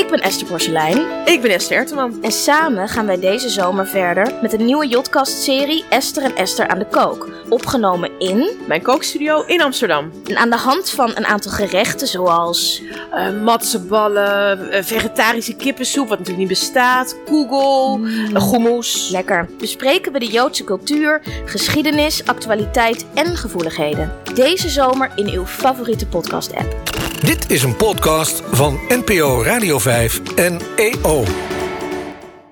ben Esther Porselein Ik ben Esther Erteman. en samen gaan wij deze zomer verder met een nieuwe Jodcast-serie Esther en Esther aan de Kook. Opgenomen in Mijn kookstudio in Amsterdam. en aan de hand van een aantal gerechten zoals Eh matseballen, eh, vegetarische kippensoep, wat natuurlijk niet bestaat, kugel, eh, hummus. lekker bespreken we de Joodse cultuur, geschiedenis, actualiteit en gevoeligheden. Deze zomer in uw favoriete podcast-app. Dit is een podcast van NPO Radio 5 en EO.